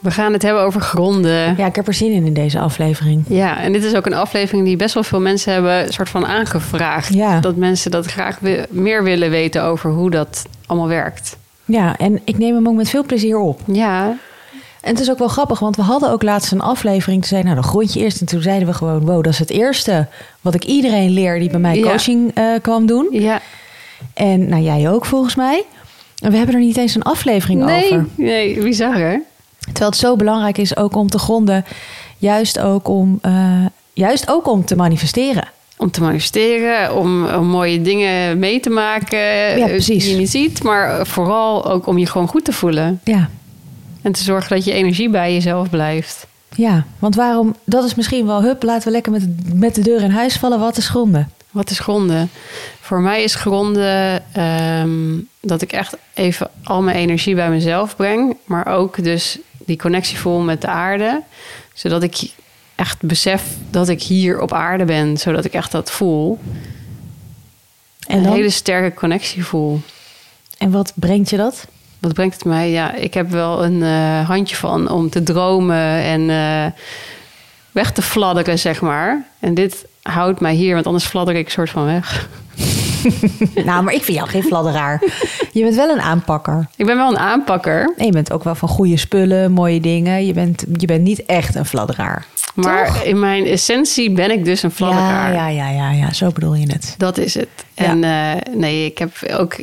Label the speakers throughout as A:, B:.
A: We gaan het hebben over gronden.
B: Ja, ik heb er zin in in deze aflevering.
A: Ja, en dit is ook een aflevering die best wel veel mensen hebben een soort van aangevraagd.
B: Ja.
A: Dat mensen dat graag wi- meer willen weten over hoe dat allemaal werkt.
B: Ja, en ik neem hem ook met veel plezier op.
A: Ja,
B: En het is ook wel grappig, want we hadden ook laatst een aflevering. Toen zei nou, dan grondje eerst. En toen zeiden we gewoon, wow, dat is het eerste wat ik iedereen leer die bij mij
A: Ja.
B: coaching eh, kwam doen.
A: ja.
B: En nou, jij ook volgens mij. En we hebben er niet eens een aflevering
A: Nee,
B: over.
A: nee, bizar hè?
B: Terwijl het zo belangrijk is ook om te gronden. Juist ook om, eh, juist ook om te manifesteren.
A: Om te manifesteren, om, om mooie dingen mee te maken eh,
B: precies.
A: die je niet ziet. Maar vooral ook om je gewoon goed te voelen.
B: Ja,
A: En te zorgen dat je energie bij jezelf blijft.
B: ja. want waarom, dat is misschien wel, hup, laten we lekker met, met de deur in huis vallen. Wat is gronden?
A: Wat is gronden? Voor mij is gronden ehm, dat ik echt even al mijn energie bij mezelf breng. Maar ook dus die connectie voel met de aarde. Zodat ik echt besef dat ik hier op aarde ben. Zodat ik echt dat voel.
B: En,
A: Een
B: dan,
A: hele sterke connectie voel.
B: en wat brengt je dat?
A: Wat brengt het mij? Ja, ik heb wel een eh, handje van om te dromen en eh, weg te fladderen, zeg maar. En dit houdt mij hier, want anders fladder ik soort van weg.
B: Nou, maar ik vind jou geen fladderaar. Je bent wel een aanpakker.
A: Ik ben wel een aanpakker.
B: En je bent ook wel van goede spullen, mooie dingen. Je bent, je bent niet echt een fladderaar.
A: Maar in mijn essentie ben ik dus een
B: Ja,
A: fladderaar.
B: ja, ja, ja, ja, zo bedoel je het.
A: Dat is het.
B: Ja.
A: En eh, nee, ik heb ook.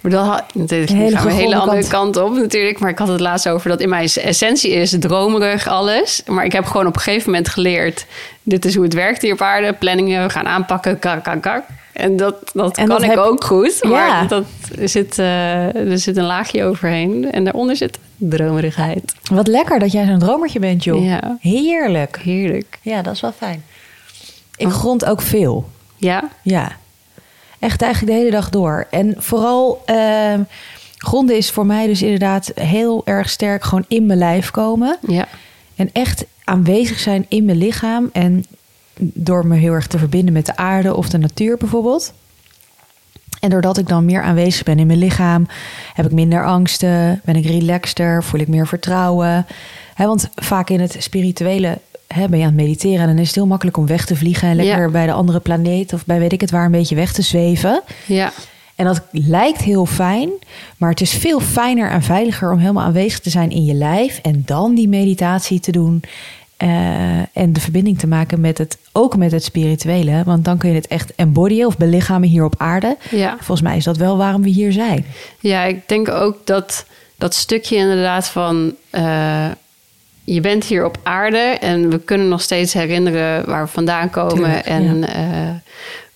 A: Maar dat had, natuurlijk,
B: Een hele
A: hele gaan we een hele
B: gegronde
A: andere kant. op natuurlijk. Maar ik had het laatst over dat in mijn essentie is dromerig alles. Maar ik heb gewoon op een gegeven moment geleerd. Dit is hoe het werkt hier op aarde. Planningen, we gaan aanpakken. Kak, kak, kak. En dat, dat
B: En
A: kan
B: dat
A: ik
B: heb-
A: ook goed. Maar
B: Ja.
A: dat zit, eh, er zit een laagje overheen. En daaronder zit dromerigheid.
B: Wat lekker dat jij zo'n dromertje bent, joh.
A: Ja.
B: Heerlijk.
A: Heerlijk. Oh.
B: Ja, dat is wel fijn. Ik grond ook veel.
A: Ja,
B: Ja. Echt eigenlijk de hele dag door. En vooral eh, gronden is voor mij dus inderdaad heel erg sterk gewoon in mijn lijf komen.
A: ja,
B: En echt aanwezig zijn in mijn lichaam. En door me heel erg te verbinden met de aarde of de natuur bijvoorbeeld. En doordat ik dan meer aanwezig ben in mijn lichaam, heb ik minder angsten, ben ik relaxter, voel ik meer vertrouwen. Hè, want vaak in het spirituele hè, ben je aan het mediteren en dan is het heel makkelijk om weg te vliegen en lekker
A: Ja.
B: bij de andere planeet of bij weet ik het waar een beetje weg te zweven.
A: ja.
B: En dat lijkt heel fijn, maar het is veel fijner en veiliger om helemaal aanwezig te zijn in je lijf en dan die meditatie te doen eh, en de verbinding te maken met het, ook met het spirituele, want dan kun je het echt embodyen of belichamen hier op aarde.
A: ja.
B: Volgens mij is dat wel waarom we hier zijn.
A: Ja, ik denk ook dat dat stukje inderdaad van eh, je bent hier op aarde en we kunnen nog steeds herinneren waar we vandaan komen
B: Tuurlijk,
A: en eh,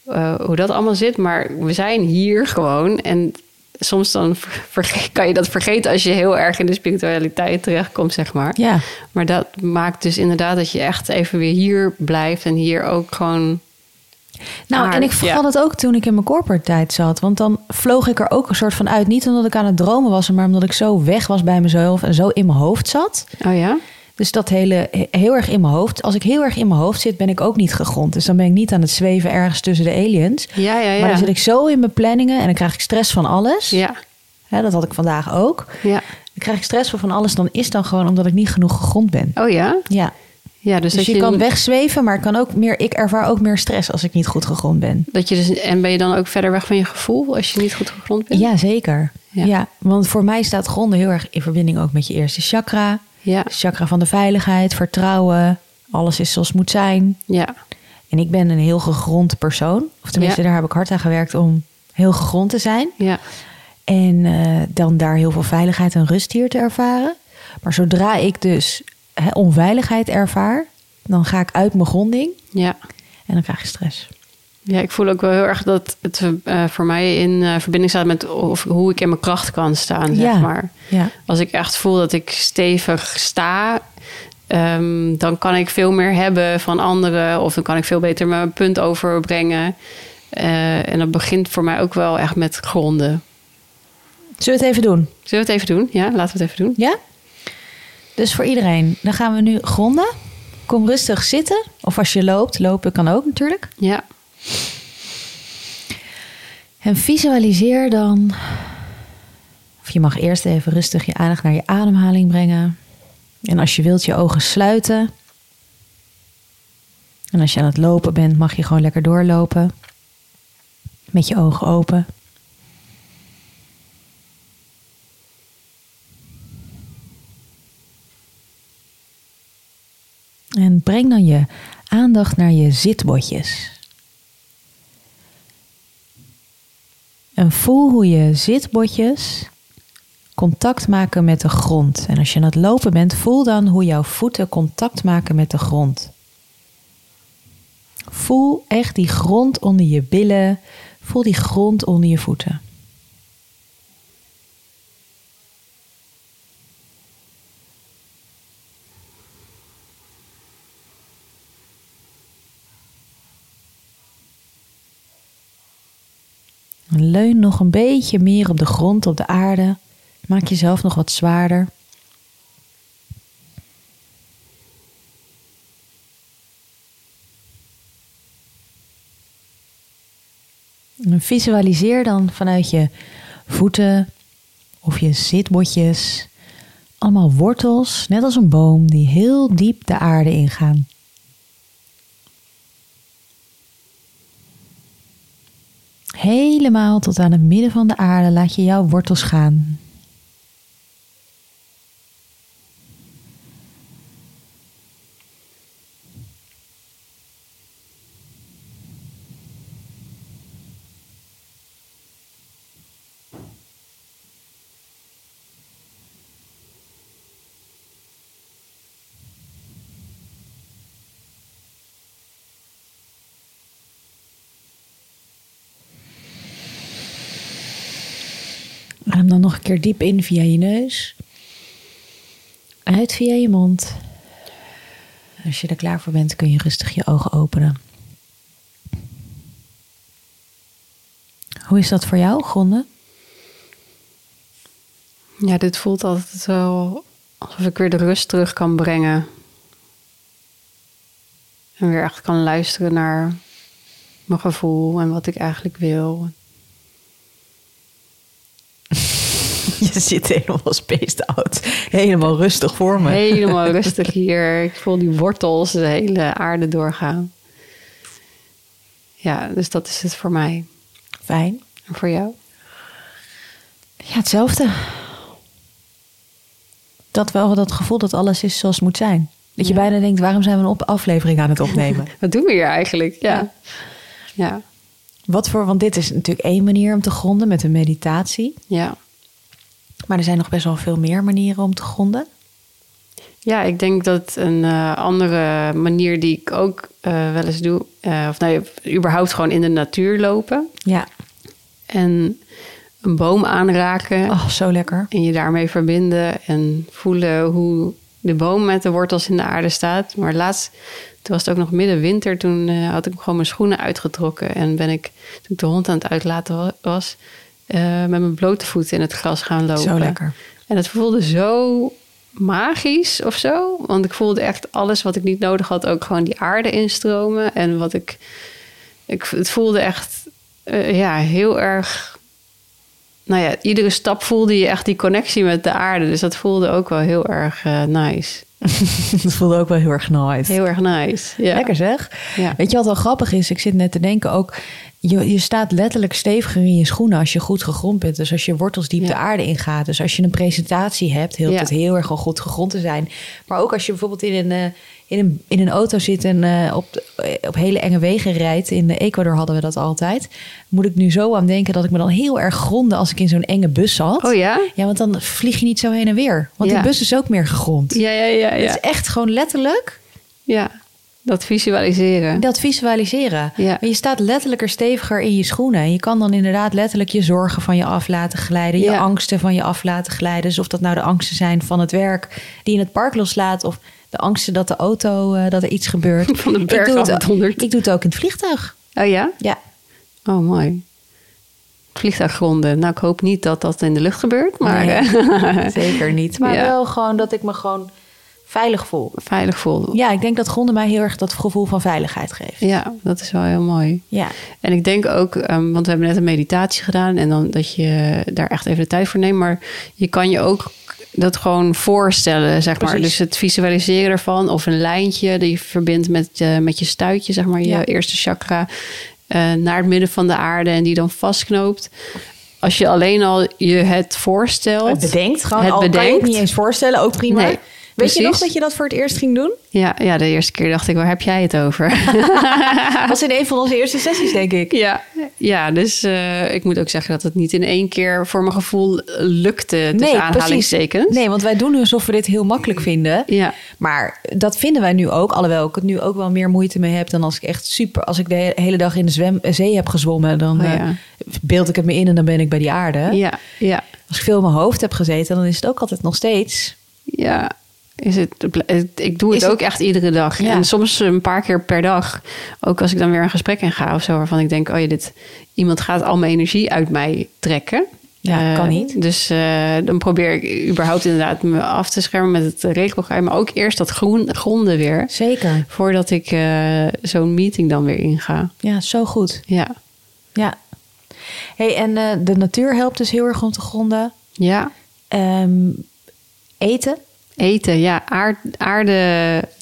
A: eh, hoe dat allemaal zit. Maar we zijn hier gewoon en soms dan ver- verge- kan je dat vergeten als je heel erg in de spiritualiteit terechtkomt, zeg maar.
B: Ja,
A: Maar dat maakt dus inderdaad dat je echt even weer hier blijft en hier ook gewoon
B: nou
A: Maar-
B: en ik
A: ja.
B: had het ook toen ik in mijn corporate tijd zat, want dan vloog ik er ook een soort van uit, niet omdat ik aan het dromen was, maar omdat ik zo weg was bij mezelf en zo in mijn hoofd zat.
A: Oh ja?
B: Dus dat hele, he- heel erg in mijn hoofd. Als ik heel erg in mijn hoofd zit, ben ik ook niet gegrond. Dus dan ben ik niet aan het zweven ergens tussen de aliens.
A: Ja, ja, ja.
B: Maar dan zit ik zo in mijn planningen en dan krijg ik stress van alles.
A: Ja,
B: Hè, dat had ik vandaag ook.
A: ja.
B: Dan krijg ik stress van van alles. Dan is dan gewoon omdat ik niet genoeg gegrond ben.
A: Oh ja?
B: Ja.
A: Ja, dus,
B: Dus,
A: dat
B: je, kan wegzweven, maar ik, kan ook meer, ik ervaar ook meer stress als ik niet goed gegrond ben.
A: Dat je dus, en ben je dan ook verder weg van je gevoel als je niet goed gegrond bent?
B: Ja, zeker.
A: Ja.
B: Ja. want voor mij staat gronden heel erg in verbinding ook met je eerste chakra.
A: Ja,
B: Chakra van de veiligheid, vertrouwen. Alles is zoals het moet zijn.
A: ja,
B: En ik ben een heel gegrond persoon. Of tenminste,
A: Ja.
B: daar heb ik hard aan gewerkt om heel gegrond te zijn.
A: ja,
B: En eh, dan daar heel veel veiligheid en rust hier te ervaren. Maar zodra ik dus hè, onveiligheid ervaar, dan ga ik uit mijn gronding
A: ja.
B: en dan krijg ik stress.
A: Ja, ik voel ook wel heel erg dat het eh, voor mij in eh, verbinding staat met of, hoe ik in mijn kracht kan staan, zeg
B: Ja.
A: maar.
B: Ja,
A: Als ik echt voel dat ik stevig sta, eh, ehm, dan kan ik veel meer hebben van anderen. Of dan kan ik veel beter mijn punt overbrengen. Eh, en dat begint voor mij ook wel echt met gronden.
B: Zullen we het even doen?
A: Zullen we het even doen? Ja, laten we het even doen.
B: Ja? Dus voor iedereen, dan gaan we nu gronden. Kom rustig zitten. Of als je loopt, lopen kan ook natuurlijk.
A: Ja.
B: En visualiseer dan. Of je mag eerst even rustig je aandacht naar je ademhaling brengen. En als je wilt, je ogen sluiten. En als je aan het lopen bent, mag je gewoon lekker doorlopen. Met je ogen open. En breng dan je aandacht naar je zitbotjes. En voel hoe je zitbotjes contact maken met de grond. En als je aan het lopen bent, voel dan hoe jouw voeten contact maken met de grond. Voel echt die grond onder je billen. Voel die grond onder je voeten. En Leun nog een beetje meer op de grond, op de aarde. Maak jezelf nog wat zwaarder. En visualiseer dan vanuit je voeten of je zitbotjes allemaal wortels, net als een boom, die heel diep de aarde ingaan. Helemaal tot aan het midden van de aarde laat je jouw wortels gaan. Adem dan nog een keer diep in via je neus. Uit via je mond. Als je er klaar voor bent, kun je rustig je ogen openen. Hoe is dat voor jou, Gronde?
A: Ja, dit voelt altijd wel alsof ik weer de rust terug kan brengen. En weer echt kan luisteren naar mijn gevoel en wat ik eigenlijk wil.
B: Je zit helemaal spaced out. Helemaal rustig voor
A: Helemaal rustig hier. Ik voel die wortels de hele aarde doorgaan. Ja, dus dat is het voor mij.
B: Fijn.
A: En voor jou?
B: Ja, hetzelfde. Dat wel dat gevoel dat alles is zoals het moet zijn. Dat je bijna denkt, waarom zijn we een op aflevering aan het opnemen?
A: Wat doen we hier eigenlijk? Ja. Ja.
B: Wat voor, want dit is natuurlijk één manier om te gronden met een meditatie.
A: Ja.
B: Maar er zijn nog best wel veel meer manieren om te gronden.
A: Ja, ik denk dat een eh, andere manier die ik ook eh, wel eens doe, eh, of nou, überhaupt gewoon in de natuur lopen
B: Ja.
A: en een boom aanraken
B: Oh, zo lekker.
A: en je daarmee verbinden en voelen hoe de boom met de wortels in de aarde staat. Maar laatst, toen was het ook nog middenwinter, toen eh, had ik gewoon mijn schoenen uitgetrokken en ben ik, toen ik de hond aan het uitlaten wa- was, eh, met mijn blote voeten in het gras gaan lopen.
B: Zo lekker.
A: En het voelde zo magisch of zo. Want ik voelde echt alles wat ik niet nodig had, ook gewoon die aarde instromen. En wat ik. ik het voelde echt eh, ja, heel erg. Nou ja, iedere stap voelde je echt die connectie met de aarde. Dus dat voelde ook wel heel erg eh, nice.
B: Dat voelde ook wel heel erg nice.
A: Heel erg nice. Ja.
B: Lekker zeg.
A: Ja.
B: Weet je wat wel grappig is? Ik zit net te denken ook. Je, je staat letterlijk steviger in je schoenen als je goed gegrond bent. Dus als je wortels diep
A: Ja.
B: de aarde ingaat. Dus als je een presentatie hebt, heel
A: Ja.
B: het heel erg al goed gegrond te zijn. Maar ook als je bijvoorbeeld in een, eh, in een, in een auto zit en eh, op, de- eh, op hele enge wegen rijdt. In eh, Ecuador hadden we dat altijd. Moet ik nu zo aan denken dat ik me dan heel erg gronde als ik in zo'n enge bus zat.
A: Oh ja?
B: Ja, want dan vlieg je niet zo heen en weer. Want
A: Ja.
B: die bus is ook meer gegrond.
A: Ja, ja, ja,
B: Het
A: ja.
B: is echt gewoon letterlijk
A: ja. Dat visualiseren.
B: Dat visualiseren.
A: Ja.
B: Je staat letterlijk er steviger in je schoenen. En je kan dan inderdaad letterlijk je zorgen van je af laten glijden. Je
A: Ja.
B: angsten van je af laten glijden. Dus of dat nou de angsten zijn van het werk die je in het park loslaat. Of de angsten dat de auto, eh, dat er iets gebeurt.
A: Van de berg
B: ik, doe het,
A: afdondert.
B: ik doe het ook in het vliegtuig.
A: Oh ja?
B: Ja,
A: Oh, mooi. Vliegtuiggronden. Nou, ik hoop niet dat dat in de lucht gebeurt, maar
B: Nee.
A: eh,
B: zeker niet. Maar
A: Ja.
B: wel gewoon dat ik me gewoon veilig voel.
A: veilig voel.
B: Ja, ik denk dat gronden mij heel erg dat gevoel van veiligheid geeft.
A: Ja, dat is wel heel mooi.
B: Ja,
A: En ik denk ook, ehm, want we hebben net een meditatie gedaan en dan dat je daar echt even de tijd voor neemt, maar je kan je ook dat gewoon voorstellen, zeg maar.
B: Precies.
A: Dus het visualiseren ervan of een lijntje die je verbindt met, eh, met je stuitje, zeg maar, je
B: Ja.
A: eerste chakra, eh, naar het midden van de aarde en die dan vastknoopt. Als je alleen al je het voorstelt.
B: het bedenkt gewoon.
A: Het
B: al kan je het
A: bedenkt.
B: niet eens voorstellen, ook prima.
A: Nee,
B: Weet je
A: precies.
B: nog dat je dat voor het eerst ging doen?
A: Ja, ja, de eerste keer dacht ik, waar heb jij het over?
B: was in een van onze eerste sessies, denk ik.
A: ja, ja, dus eh, ik moet ook zeggen dat het niet in één keer voor mijn gevoel lukte. Tussen aanhalingstekens.
B: Nee, want wij doen alsof we dit heel makkelijk vinden.
A: Ja,
B: Maar dat vinden wij nu ook. Alhoewel ik het nu ook wel meer moeite mee heb dan als ik echt super... Als ik de he- hele dag in de zwem, eh, zee heb gezwommen, dan
A: Oh ja.
B: eh, beeld ik het me in en dan ben ik bij die aarde.
A: ja, ja,
B: Als ik veel in mijn hoofd heb gezeten, dan is het ook altijd nog steeds...
A: ja. Is het, ik doe het
B: Is het-
A: ook echt iedere dag.
B: Ja.
A: En soms een paar keer per dag. Ook als ik dan weer een gesprek in ga of zo. Waarvan ik denk, oh ja, dit, iemand gaat al mijn energie uit mij trekken.
B: Ja,
A: Eh,
B: kan niet.
A: Dus eh, dan probeer ik überhaupt inderdaad me af te schermen met het regelprogramma. Maar ook eerst dat groen, gronden weer.
B: Zeker.
A: Voordat ik eh, zo'n meeting dan weer inga.
B: Ja, zo goed.
A: Ja.
B: Ja. hey, en eh, de natuur helpt dus heel erg om te gronden.
A: Ja.
B: Ehm, eten.
A: Eten, ja. Aard- aarde,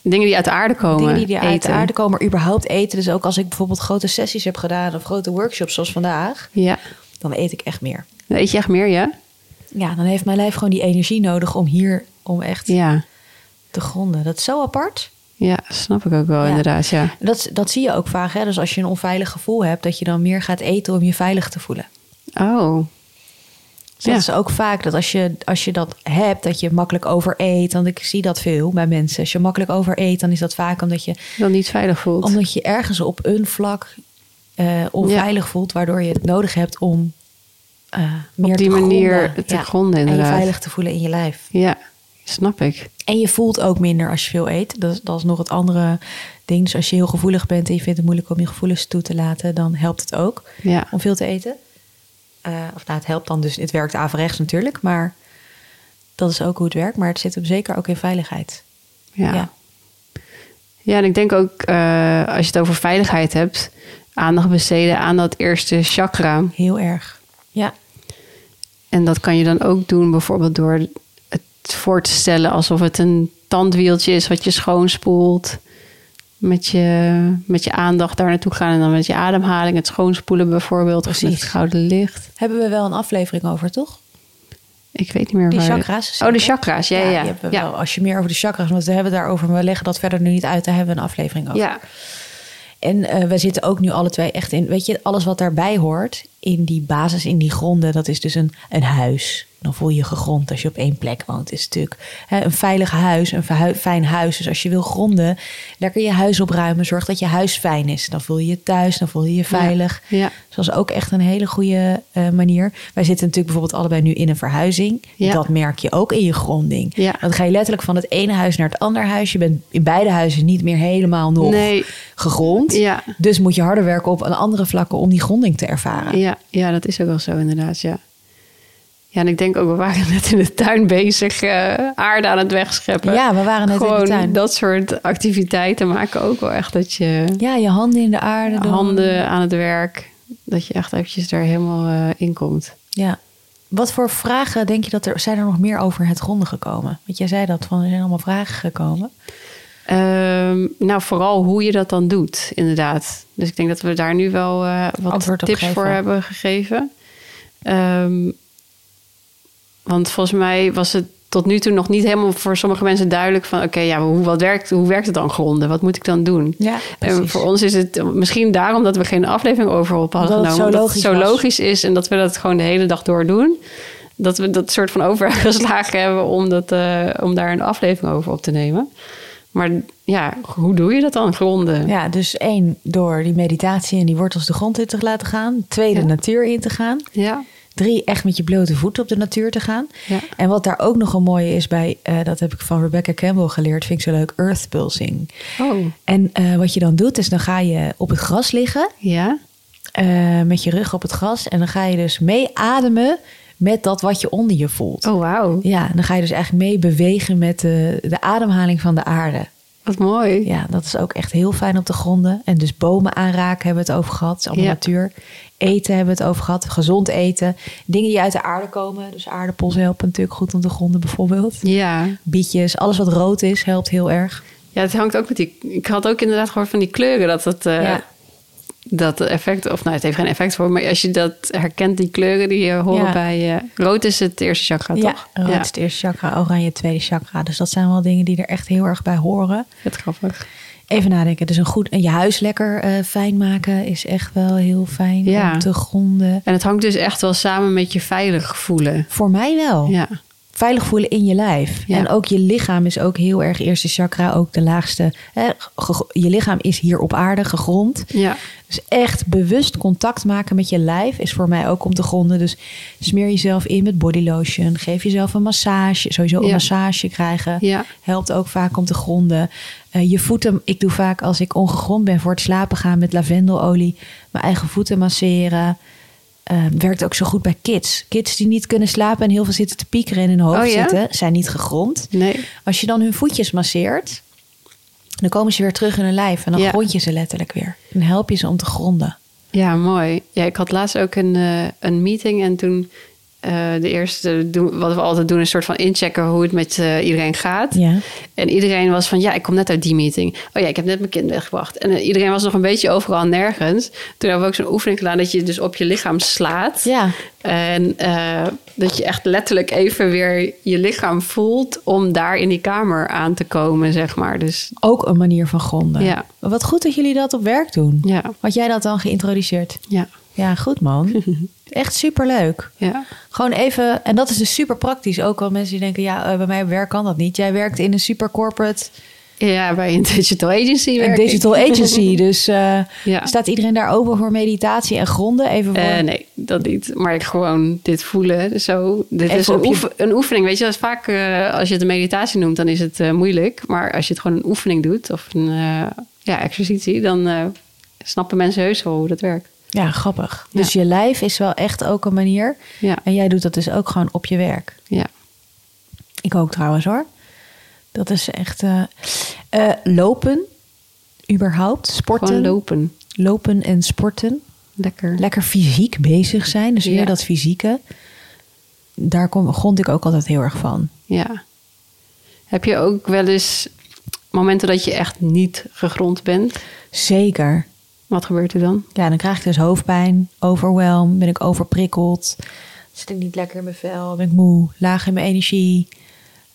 A: dingen die uit de aarde komen.
B: Dingen die uit de
A: eten.
B: aarde komen, überhaupt eten. Dus ook als ik bijvoorbeeld grote sessies heb gedaan of grote workshops zoals vandaag,
A: Ja.
B: dan eet ik echt meer.
A: Dan eet je echt meer, ja?
B: Ja, dan heeft mijn lijf gewoon die energie nodig om hier, om echt
A: Ja.
B: te gronden. Dat is zo apart.
A: Ja, snap ik ook wel,
B: Ja.
A: inderdaad. Ja.
B: Dat, dat zie je ook vaak. Hè? Dus als je een onveilig gevoel hebt, dat je dan meer gaat eten om je veilig te voelen.
A: Oh.
B: Dus dat
A: Ja.
B: is ook vaak dat als je, als je dat hebt, dat je makkelijk overeet. Want ik zie dat veel bij mensen. Als je makkelijk overeet, dan is dat vaak omdat je,
A: Dan niet veilig voelt.
B: omdat je ergens op een vlak eh, onveilig voelt. Waardoor je het nodig hebt om eh, meer
A: die
B: te
A: manier
B: gronden.
A: te gronden,
B: En je
A: inderdaad.
B: veilig te voelen in je lijf.
A: Ja, snap ik.
B: En je voelt ook minder als je veel eet. Dat, is- dat is nog het andere ding. Dus als je heel gevoelig bent en je vindt het moeilijk om je gevoelens toe te laten, dan helpt het ook
A: Ja.
B: om veel te eten. Eh, of nou, het helpt dan dus, het werkt averechts natuurlijk, maar dat is ook hoe het werkt. Maar het zit hem zeker ook in veiligheid.
A: Ja. ja. en ik denk ook eh, als je het over veiligheid hebt, aandacht besteden aan dat eerste chakra.
B: heel erg. Ja,
A: En dat kan je dan ook doen bijvoorbeeld door het voor te stellen alsof het een tandwieltje is wat je schoonspoelt. Met je, met je aandacht daar naartoe gaan en dan met je ademhaling, het schoonspoelen bijvoorbeeld, of met
B: Precies.
A: het gouden licht.
B: hebben we wel een aflevering over, toch?
A: Ik weet niet meer
B: Die
A: waar.
B: chakra's.
A: Oh, de chakra's, ja, ja.
B: die
A: Ja,
B: hebben we
A: ja.
B: wel. Als je meer over de chakras, want we hebben het daarover, maar we leggen dat verder nu niet uit. Daar hebben we een aflevering over.
A: Ja.
B: En eh, we zitten ook nu alle twee echt in, weet je, alles wat daarbij hoort, in die basis, in die gronden, dat is dus een, een huis. Dan voel je je gegrond als je op één plek woont. Is natuurlijk hè, een veilig huis, een verhu- fijn huis. Dus als je wil gronden, lekker je huis opruimen. Zorg dat je huis fijn is. Dan voel je je thuis, dan voel je je veilig.
A: Ja.
B: Dus dat is ook echt een hele goede eh, manier. Wij zitten natuurlijk bijvoorbeeld allebei nu in een verhuizing.
A: Ja.
B: Dat merk je ook in je gronding.
A: Ja.
B: Dan ga je letterlijk van het ene huis naar het andere huis. Je bent in beide huizen niet meer helemaal nog
A: Nee.
B: gegrond.
A: Ja.
B: Dus moet je harder werken op een andere vlakken om die gronding te ervaren.
A: Ja, ja, dat is ook wel zo inderdaad, ja. Ja, en ik denk ook, we waren net in de tuin bezig eh, aarde aan het wegscheppen.
B: Ja, we waren net in de
A: Gewoon
B: tuin.
A: dat soort activiteiten maken ook wel echt dat je
B: Ja, je handen in de aarde. doen.
A: handen aan het werk, dat je echt eventjes daar helemaal eh, in komt.
B: Ja. Wat voor vragen denk je dat er zijn er nog meer over het gronden gekomen? Want jij zei dat van er zijn allemaal vragen gekomen.
A: Ehm, nou, vooral hoe je dat dan doet, inderdaad. Dus ik denk dat we daar nu wel eh, wat
B: Antwoord op
A: tips
B: geven.
A: voor hebben gegeven. Ehm, want volgens mij was het tot nu toe nog niet helemaal voor sommige mensen duidelijk van... oké, ja, hoe, wat werkt, hoe werkt het dan gronden? Wat moet ik dan doen?
B: Ja,
A: en
B: precies.
A: voor ons is het misschien daarom dat we geen aflevering over op hadden
B: Omdat het
A: genomen.
B: zo
A: omdat het zo
B: logisch was.
A: logisch is en dat we dat gewoon de hele dag door doen. Dat we dat soort van overgeslagen hebben om, dat, eh, om daar een aflevering over op te nemen. Maar ja, hoe doe je dat dan, gronden?
B: Ja, dus één, door die meditatie en die wortels de grond in te laten gaan. Twee, de
A: Ja.
B: natuur in te gaan.
A: Ja.
B: Drie, echt met je blote voeten op de natuur te gaan.
A: Ja.
B: En wat daar ook nog een mooie is bij, eh, dat heb ik van Rebecca Campbell geleerd, vind ik zo leuk, earth pulsing.
A: Oh,
B: En eh, wat je dan doet, is dan ga je op het gras liggen,
A: ja.
B: eh, met je rug op het gras. En dan ga je dus mee ademen met dat wat je onder je voelt.
A: Oh, wauw.
B: Ja, en dan ga je dus eigenlijk mee bewegen met de, de ademhaling van de aarde.
A: Wat mooi.
B: Ja, dat is ook echt heel fijn op de gronden. En dus bomen aanraken hebben we het over gehad. Het is allemaal
A: Ja.
B: natuur. Eten hebben we het over gehad. Gezond eten. Dingen die uit de aarde komen. Dus aardappels helpen natuurlijk goed op de gronden bijvoorbeeld.
A: Ja.
B: Bietjes, alles wat rood is, helpt heel erg.
A: Ja, het hangt ook met die... Ik had ook inderdaad gehoord van die kleuren dat het... eh,
B: Ja.
A: Dat effect, of nou, het heeft geen effect voor, maar als je dat herkent, die kleuren die je horen
B: Ja.
A: bij eh, rood is het eerste chakra,
B: ja,
A: toch?
B: rood is het eerste chakra, oranje het tweede chakra. Dus dat zijn wel dingen die er echt heel erg bij horen.
A: het grappig.
B: Even nadenken. Dus een goed, en je huis lekker eh, fijn maken is echt wel heel fijn
A: Ja.
B: om te gronden.
A: En het hangt dus echt wel samen met je veilig voelen.
B: Voor mij wel.
A: Ja,
B: veilig voelen in je lijf.
A: Ja.
B: En ook je lichaam is ook heel erg eerste chakra, ook de laagste. Hè, ge- je lichaam is hier op aarde gegrond.
A: ja,
B: Dus echt bewust contact maken met je lijf is voor mij ook om te gronden. Dus smeer jezelf in met body lotion. Geef jezelf een massage. Sowieso een
A: Ja.
B: massage krijgen.
A: Ja.
B: Helpt ook vaak om te gronden. Eh, je voeten, ik doe vaak als ik ongegrond ben voor het slapen gaan met lavendelolie. Mijn eigen voeten masseren. Eh, werkt ook zo goed bij kids. Kids die niet kunnen slapen en heel veel zitten te piekeren in hun hoofd
A: Oh ja?
B: zitten, zijn niet gegrond.
A: nee.
B: Als je dan hun voetjes masseert, dan komen ze weer terug in hun lijf. En dan
A: Ja.
B: grond je ze letterlijk weer. Dan help je ze om te gronden.
A: Ja, mooi. Ja, ik had laatst ook een, eh, een meeting en toen eh, de eerste, doen- wat we altijd doen, is een soort van inchecken hoe het met eh, iedereen gaat.
B: Ja.
A: En iedereen was van, ja, ik kom net uit die meeting. Oh ja, ik heb net mijn kind weggebracht. En eh, iedereen was nog een beetje overal en nergens. Toen hebben we ook zo'n oefening gedaan dat je dus op je lichaam slaat.
B: Ja.
A: En eh, dat je echt letterlijk even weer je lichaam voelt om daar in die kamer aan te komen, zeg maar. Dus
B: Ook een manier van gronden.
A: Ja.
B: Wat goed dat jullie dat op werk doen.
A: ja,
B: Had jij dat dan geïntroduceerd?
A: ja,
B: Ja, goed man. Echt superleuk.
A: ja.
B: Gewoon even, en dat is dus super praktisch. Ook wel mensen die denken, ja, eh, bij mij op werk kan dat niet. Jij werkt in een super corporate
A: Ja, bij een digital agency
B: een
A: werk ik.
B: digital agency. Dus eh,
A: Ja.
B: staat iedereen daar open voor meditatie en gronden? Even voor...
A: Eh, nee, dat niet. Maar ik gewoon dit voelen. Zo, dit
B: Even
A: is een,
B: op je-
A: oefe- een oefening. Weet je, dat is vaak eh, als je het een meditatie noemt, dan is het eh, moeilijk. Maar als je het gewoon een oefening doet of een eh, ja, exercitie, dan eh, snappen mensen heus wel hoe dat werkt.
B: Ja, grappig. Dus je lijf is wel echt ook een manier.
A: Ja.
B: En jij doet dat dus ook gewoon op je werk.
A: Ja.
B: Ik ook trouwens hoor. Dat is echt eh, eh, lopen, überhaupt. Sporten.
A: Gewoon lopen.
B: Lopen en sporten.
A: Lekker.
B: Lekker fysiek bezig zijn. Dus weer
A: Ja.
B: dat fysieke. Daar kom, grond ik ook altijd heel erg van.
A: Ja. Heb je ook wel eens momenten dat je echt niet gegrond bent?
B: Zeker.
A: Wat gebeurt er dan?
B: Ja, dan krijg ik dus hoofdpijn, overwhelm, ben ik overprikkeld. Zit ik niet lekker in mijn vel, ben ik moe, laag in mijn energie.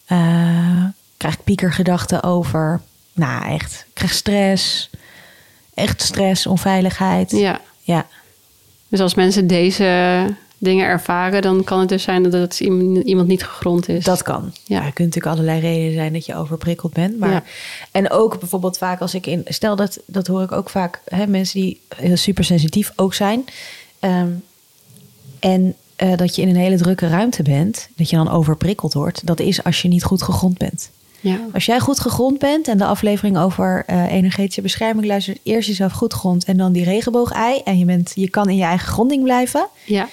B: eh, krijg ik piekergedachten over. Nou, echt. Ik krijg stress. Echt stress, onveiligheid.
A: Ja.
B: Ja,
A: Dus als mensen deze dingen ervaren, dan kan het dus zijn dat het iem- iemand niet gegrond is.
B: dat kan. Dus Ja.
A: Ja.
B: Er kunnen natuurlijk allerlei redenen zijn dat je overprikkeld bent. Maar,
A: Ja.
B: En ook bijvoorbeeld vaak als ik in... Stel dat, dat hoor ik ook vaak, hè, mensen die heel supersensitief ook zijn. ehm, En eh, dat je in een hele drukke ruimte bent, dat je dan overprikkeld wordt, dat is als je niet goed gegrond bent.
A: Ja.
B: Als jij goed gegrond bent en de aflevering over eh, energetische bescherming luistert, eerst jezelf goed grond en dan die regenboog-ei en je, bent, je kan in je eigen gronding blijven,
A: Ja.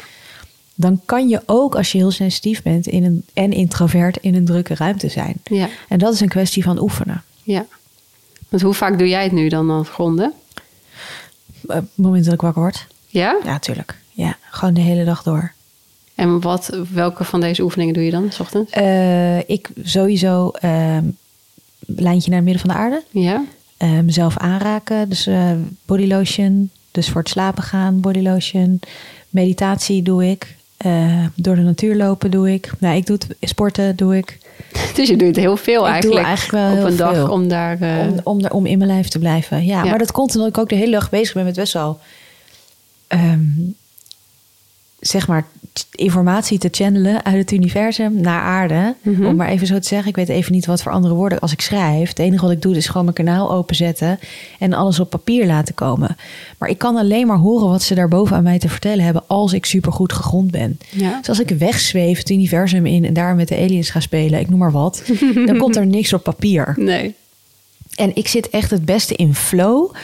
B: dan kan je ook als je heel sensitief bent in een, en introvert in een drukke ruimte zijn.
A: Ja.
B: En dat is een kwestie van oefenen.
A: Ja. Want hoe vaak doe jij het nu dan aan het gronden?
B: Eh, Op het moment dat ik wakker word.
A: Ja?
B: Ja, natuurlijk. Ja, gewoon de hele dag door.
A: En wat, welke van deze oefeningen doe je dan, s ochtends?
B: Eh, ik sowieso ehm, lijntje naar het midden van de aarde.
A: Ja?
B: Eh, mezelf aanraken, dus eh body lotion. Dus voor het slapen gaan, body lotion. Meditatie doe ik. Eh, door de natuur lopen doe ik. Nou, ik doe het, sporten doe ik.
A: Dus je doet het heel veel
B: doe
A: eigenlijk,
B: eigenlijk wel
A: op een
B: heel
A: dag
B: veel.
A: om daar... eh,
B: Om, om, er, om in mijn lijf te blijven. Ja,
A: Ja.
B: maar dat komt omdat ik ook de hele dag bezig ben met best wel... ehm, zeg maar ch- informatie te channelen uit het universum naar aarde.
A: Mhm.
B: Om maar even zo te zeggen, ik weet even niet wat voor andere woorden als ik schrijf. Het enige wat ik doe is gewoon mijn kanaal openzetten en alles op papier laten komen. Maar ik kan alleen maar horen wat ze daarboven aan mij te vertellen hebben als ik supergoed gegrond ben.
A: Ja.
B: Dus als ik wegzweef het universum in en daar met de aliens ga spelen, ik noem maar wat, dan komt er niks op papier.
A: Nee.
B: En ik zit echt het beste in flow.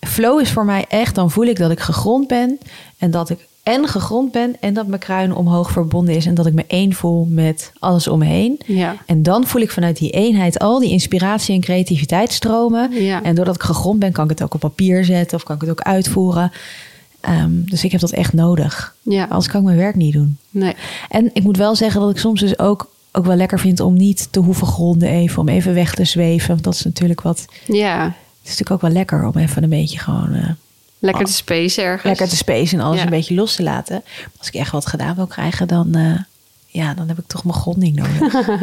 B: Flow is voor mij echt, dan voel ik dat ik gegrond ben. En dat ik en gegrond ben en dat mijn kruin omhoog verbonden is. En dat ik me één voel met alles om me heen.
A: Ja.
B: En dan voel ik vanuit die eenheid al die inspiratie en creativiteit stromen.
A: Ja.
B: En doordat ik gegrond ben, kan ik het ook op papier zetten of kan ik het ook uitvoeren. Ehm, dus ik heb dat echt nodig.
A: Ja.
B: Anders kan ik mijn werk niet doen.
A: Nee.
B: En ik moet wel zeggen dat ik soms dus ook, ook wel lekker vind om niet te hoeven gronden even, om even weg te zweven. Want dat is natuurlijk wat. Het
A: Ja.
B: is natuurlijk ook wel lekker om even een beetje gewoon eh,
A: Lekker te space ergens.
B: lekker te space en alles
A: Ja.
B: een beetje los te laten. Maar als ik echt wat gedaan wil krijgen, dan, eh, ja, dan heb ik toch mijn gronding nodig.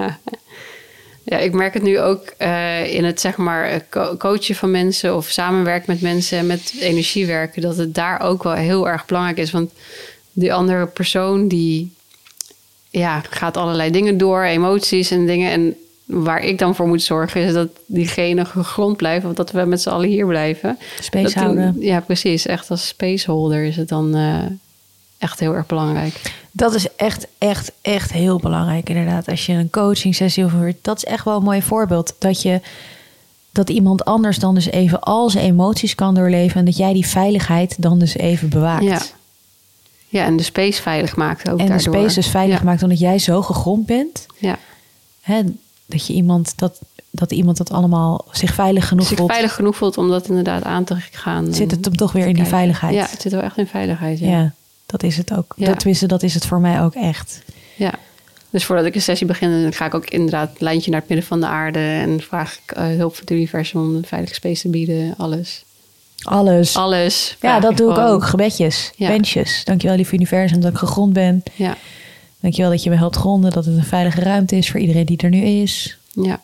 A: Ja, ik merk het nu ook eh, in het zeg maar eh, co- coachen van mensen of samenwerken met mensen en met energie werken, dat het daar ook wel heel erg belangrijk is. Want die andere persoon die ja, gaat allerlei dingen door, emoties en dingen. En waar ik dan voor moet zorgen is dat diegene gegrond blijft, of dat we met z'n allen hier blijven.
B: Space
A: Dat die-
B: houden.
A: ja, precies. Echt als spaceholder is het dan eh, echt heel erg belangrijk.
B: Dat is echt, echt, echt heel belangrijk inderdaad. Als je een coaching sessie of een retreat- dat is echt wel een mooi voorbeeld. Dat je dat iemand anders dan dus even al zijn emoties kan doorleven en dat jij die veiligheid dan dus even bewaakt.
A: Ja. Ja, en de space veilig maakt ook
B: en de
A: daardoor.
B: space dus veilig
A: ja.
B: maakt omdat jij zo gegrond bent.
A: Ja.
B: Hè, dat, je iemand, dat, dat iemand dat allemaal zich veilig genoeg
A: Als ik
B: voelt.
A: veilig genoeg voelt om dat inderdaad aan te gaan.
B: zit het
A: op
B: hem toch weer in die veiligheid.
A: Ja, het zit wel echt in veiligheid. Ja.
B: Ja,
A: Ja.
B: dat is het ook.
A: Ja.
B: Dat, tenminste, dat is het voor mij ook echt.
A: Dus voordat ik een sessie begin, dan ga ik ook inderdaad het lijntje naar het midden van de aarde. En vraag ik eh, hulp van het universum om een veilige space te bieden. Alles.
B: Alles.
A: Alles.
B: ja,
A: vraag
B: dat doe ik
A: gewoon.
B: ook. Gebedjes,
A: Ja.
B: wensjes. Dankjewel, lieve universum, dat ik gegrond ben.
A: Ja.
B: Dankjewel dat je me helpt gronden. Dat het een veilige ruimte is voor iedereen die er nu is.
A: ja.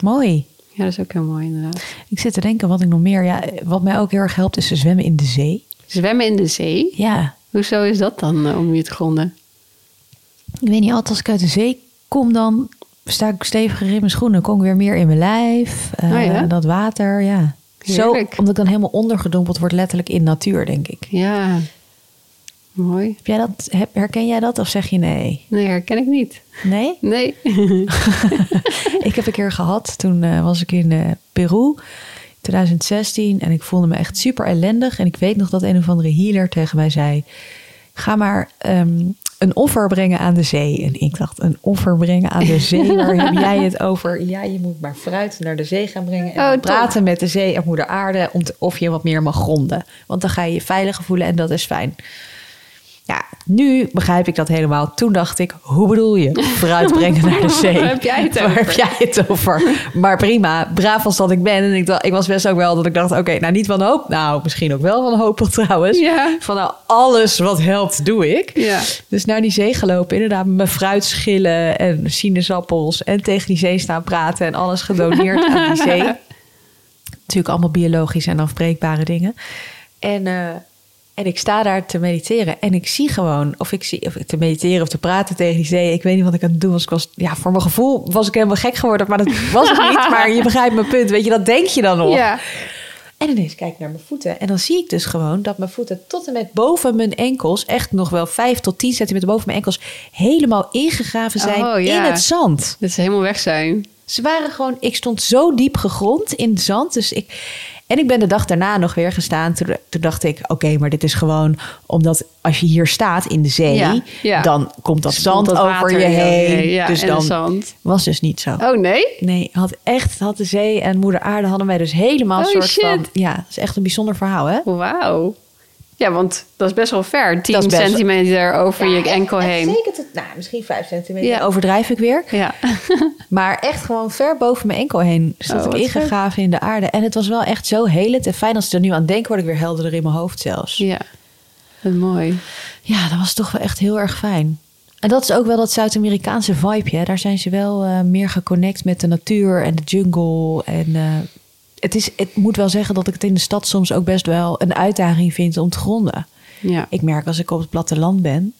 B: Mooi.
A: Ja, dat is ook heel mooi inderdaad.
B: Ik zit te denken wat ik nog meer... Ja, wat mij ook heel erg helpt is te zwemmen in de zee.
A: Zwemmen in de zee.
B: Ja,
A: Hoezo is dat dan eh, om je te gronden?
B: ik weet niet, altijd als ik uit de zee kom dan sta ik steviger in mijn schoenen. Kom ik weer meer in mijn lijf. eh,
A: Ah, ja?
B: Dat water, ja. Zo,
A: Heerlijk.
B: omdat ik dan helemaal ondergedompeld word letterlijk in natuur, denk ik.
A: Ja. Mooi.
B: Heb jij dat, heb- herken jij dat of zeg je nee?
A: Nee, herken ik niet.
B: Nee?
A: Nee.
B: ik heb een keer gehad, toen eh, was ik in eh, Peru, 2016. En ik voelde me echt super ellendig. En ik weet nog dat een of andere healer tegen mij zei... ga maar ehm, een offer brengen aan de zee. En ik dacht, een offer brengen aan de zee? Waar heb jij het over? Ja, je moet maar fruit naar de zee gaan brengen. En
A: Oh,
B: dan
A: top.
B: praten met de zee en moeder aarde... Om te- of je wat meer mag gronden. Want dan ga je je veiliger voelen en dat is fijn. Ja, nu begrijp ik dat helemaal. Toen dacht ik, hoe bedoel je? Fruit brengen naar de zee.
A: Waar heb jij het
B: Waar
A: over?
B: heb jij het over? Maar prima, braaf als dat ik ben. En ik, dacht, ik was best ook wel dat ik dacht, oké, nou niet van hoop. Nou, misschien ook wel van hoop trouwens.
A: Ja.
B: Van nou, alles wat helpt, doe ik.
A: Ja.
B: Dus naar die zee gelopen, inderdaad, met mijn fruitschillen en sinaasappels. En tegen die zee staan praten en alles gedoneerd aan die zee natuurlijk allemaal biologische en afbreekbare dingen. En, eh, en ik sta daar te mediteren en ik zie gewoon, of ik zie of ik te mediteren of te praten tegen die zee. Ik weet niet wat ik aan het doen was. Ik was ja, voor mijn gevoel was ik helemaal gek geworden, maar dat was ik niet. Maar je begrijpt mijn punt, weet je, dat denk je dan nog.
A: Ja.
B: En ineens kijk ik naar mijn voeten. En dan zie ik dus gewoon dat mijn voeten tot en met boven mijn enkels, echt nog wel 5 tot 10 centimeter boven mijn enkels, helemaal ingegraven zijn
A: Oh, ja.
B: in het zand.
A: Dat ze helemaal weg zijn.
B: Ze waren gewoon, ik stond zo diep gegrond in het zand. Dus ik, en ik ben de dag daarna nog weer gestaan. Toen, toen dacht ik, oké, maar dit is gewoon omdat als je hier staat in de zee,
A: Ja, ja. Dus
B: dan komt dat zand
A: Komt dat
B: over
A: water
B: je
A: in
B: heen.
A: Ja,
B: dus
A: en
B: dan
A: de zand.
B: was dus niet zo.
A: Oh nee?
B: Nee, had echt, had de zee en moeder aarde hadden wij dus helemaal een
A: Oh,
B: soort
A: shit.
B: van. Ja, dat is echt een bijzonder verhaal, hè?
A: Wauw. Ja, want dat is best wel ver. 10
B: Dat is best-
A: centimeter over je enkel heen.
B: Zeker tot, nou, misschien 5 centimeter.
A: Ja.
B: Ja, overdrijf ik weer.
A: Ja.
B: Maar echt gewoon ver boven mijn enkel heen
A: Oh,
B: zat ik
A: wat
B: ingegraven in de aarde. En het was wel echt zo helend en fijn. Als ik er nu aan denk, word ik weer helderder in mijn hoofd zelfs. Ja.
A: ja. Wat mooi.
B: dat was toch wel echt heel erg fijn. En dat is ook wel dat Zuid-Amerikaanse vibe. Hè? Daar zijn ze wel eh, meer geconnect met de natuur en de jungle. En eh, het is, ik moet wel zeggen dat ik het in de stad soms ook best wel een uitdaging vind om te gronden.
A: Ja.
B: Ik merk als ik op het platteland ben,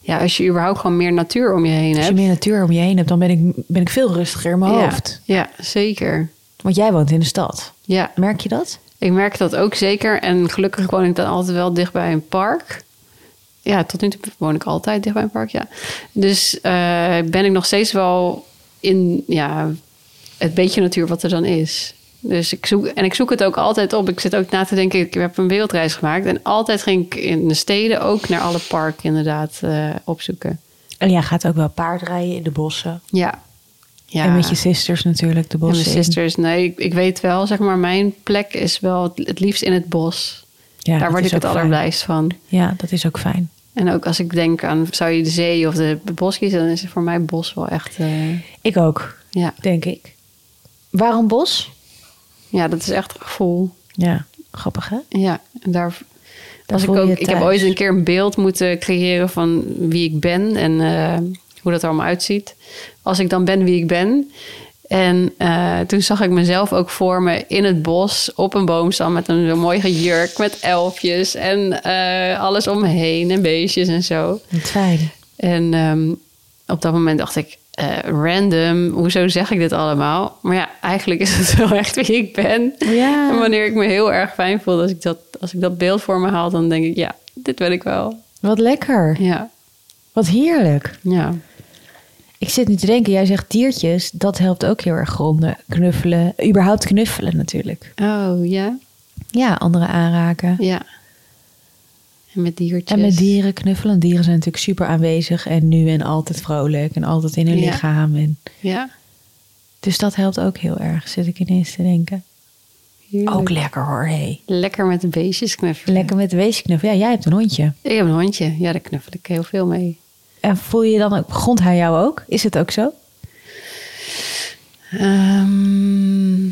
A: Ja, als je überhaupt gewoon meer natuur om je heen
B: Als
A: hebt.
B: je meer natuur om je heen hebt, dan ben ik, ben ik veel rustiger in mijn
A: ja,
B: hoofd.
A: ja, zeker.
B: Want jij woont in de stad.
A: Ja,
B: Merk je dat?
A: ik merk dat ook zeker. En gelukkig woon ik dan altijd wel dicht bij een park. Ja, tot nu toe woon ik altijd dicht bij een park, ja. Dus eh, ben ik nog steeds wel in ja, het beetje natuur wat er dan is. Dus ik zoek, en ik zoek het ook altijd op. Ik zit ook na te denken, ik heb een wereldreis gemaakt. En altijd ging ik in de steden ook naar alle parken inderdaad eh, opzoeken.
B: En jij gaat ook wel paardrijden in de bossen.
A: Ja. ja.
B: En met je sisters natuurlijk de
A: En
B: bossen.
A: mijn
B: in.
A: sisters, nee, ik, ik weet wel, zeg maar, mijn plek is wel het, het liefst in het bos.
B: Ja, dat
A: Daar word
B: is
A: ik het
B: ook fijn.
A: allerblijst van.
B: Ja, dat is ook fijn.
A: En ook als ik denk aan, zou je de zee of de bos kiezen, dan is het voor mij het bos wel echt, eh,
B: Ik ook,
A: ja.
B: denk ik. Waarom bos?
A: ja, dat is echt een gevoel.
B: Ja, grappig hè?
A: Ja, en daar, als ik,
B: voel je
A: ook,
B: je
A: ik heb
B: thuis.
A: ooit een keer een beeld moeten creëren van wie ik ben en eh, hoe dat er allemaal uitziet. Als ik dan ben wie ik ben. En eh, toen zag ik mezelf ook voor me in het bos op een boomstam met een mooie jurk met elfjes en eh, alles om me heen en beestjes en zo.
B: Wat fijn.
A: En ehm, op dat moment dacht ik, eh, random, hoezo zeg ik dit allemaal? Maar ja, eigenlijk is het wel echt wie ik ben.
B: Ja.
A: En wanneer ik me heel erg fijn voel, als ik dat, als ik dat beeld voor me haal, dan denk ik, ja, dit wil ik wel.
B: Wat lekker.
A: Ja,
B: Wat heerlijk.
A: ja.
B: Ik zit nu te denken, jij zegt diertjes, dat helpt ook heel erg gronden. Knuffelen, überhaupt knuffelen natuurlijk.
A: Oh, ja,
B: Ja, anderen aanraken.
A: ja. En met diertjes.
B: En met dieren knuffelen. Dieren zijn natuurlijk super aanwezig en nu en altijd vrolijk en altijd in hun
A: Ja.
B: lichaam. En,
A: Ja.
B: dus dat helpt ook heel erg, zit ik ineens te denken.
A: heerlijk.
B: Ook lekker hoor, hey.
A: Lekker met de beestjes knuffelen.
B: Lekker met weesknuffelen. Ja, jij hebt een hondje.
A: Ik heb een hondje. Ja, daar knuffel ik heel veel mee.
B: En voel je dan ook, grond hij jou ook? Is het ook zo?
A: Ehm,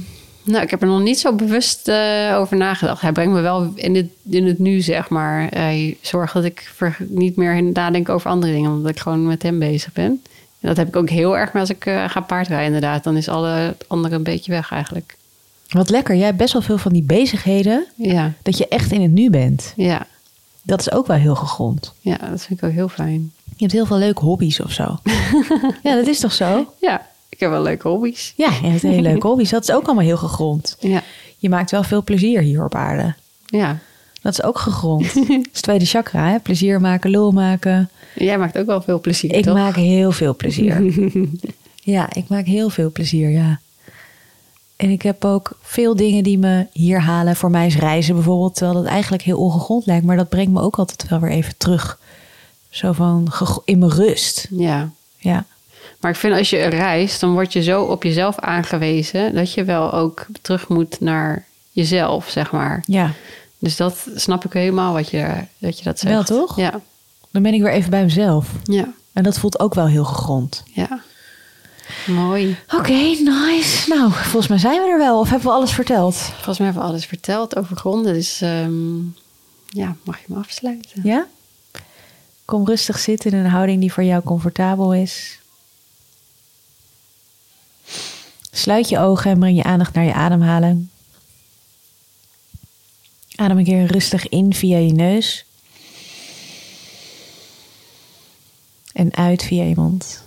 A: nou, ik heb er nog niet zo bewust eh, over nagedacht. Hij brengt me wel in het, in het nu, zeg maar. Hij zorgt dat ik ver- niet meer nadenk over andere dingen, omdat ik gewoon met hem bezig ben. En dat heb ik ook heel erg maar als ik eh, ga paardrijden, inderdaad. Dan is alle het andere een beetje weg eigenlijk.
B: Wat lekker. Jij hebt best wel veel van die bezigheden
A: Ja,
B: dat je echt in het nu bent.
A: ja,
B: Dat is ook wel heel gegrond.
A: ja, dat vind ik ook heel fijn.
B: Je hebt heel veel leuke hobby's of zo. ja, dat is toch zo?
A: Ja, ik heb wel leuke hobby's.
B: Ja, je hebt hele leuke hobby's. Dat is ook allemaal heel gegrond.
A: Ja,
B: Je maakt wel veel plezier hier op aarde.
A: ja.
B: Dat is ook gegrond. Dat is het tweede chakra, hè? Plezier maken, lol maken.
A: Jij maakt ook wel veel plezier,
B: Ik
A: toch?
B: maak heel veel plezier. ja, ik maak heel veel plezier, ja. En ik heb ook veel dingen die me hier halen. Voor mij is reizen bijvoorbeeld, terwijl dat eigenlijk heel ongegrond lijkt. Maar dat brengt me ook altijd wel weer even terug. Zo van geg- in mijn rust.
A: Ja.
B: Ja.
A: Maar ik vind als je reist, dan word je zo op jezelf aangewezen dat je wel ook terug moet naar jezelf, zeg maar.
B: ja,
A: Dus dat snap ik helemaal wat je dat, je dat zegt.
B: Wel, toch?
A: Ja,
B: dan ben ik weer even bij mezelf.
A: ja,
B: En dat voelt ook wel heel gegrond.
A: ja. Mooi.
B: Oké, nice. Nou, volgens mij zijn we er wel. Of hebben we alles verteld?
A: Volgens mij hebben we alles verteld over gronden, dus ehm, ja, mag je me afsluiten?
B: Ja? Kom rustig zitten in een houding die voor jou comfortabel is. Sluit je ogen en breng je aandacht naar je ademhalen. Adem een keer rustig in via je neus. En uit via je mond.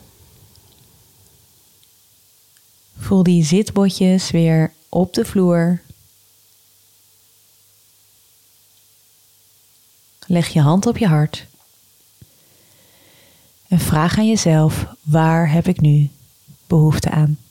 B: Voel die zitbotjes weer op de vloer. Leg je hand op je hart. En vraag aan jezelf: waar heb ik nu behoefte aan?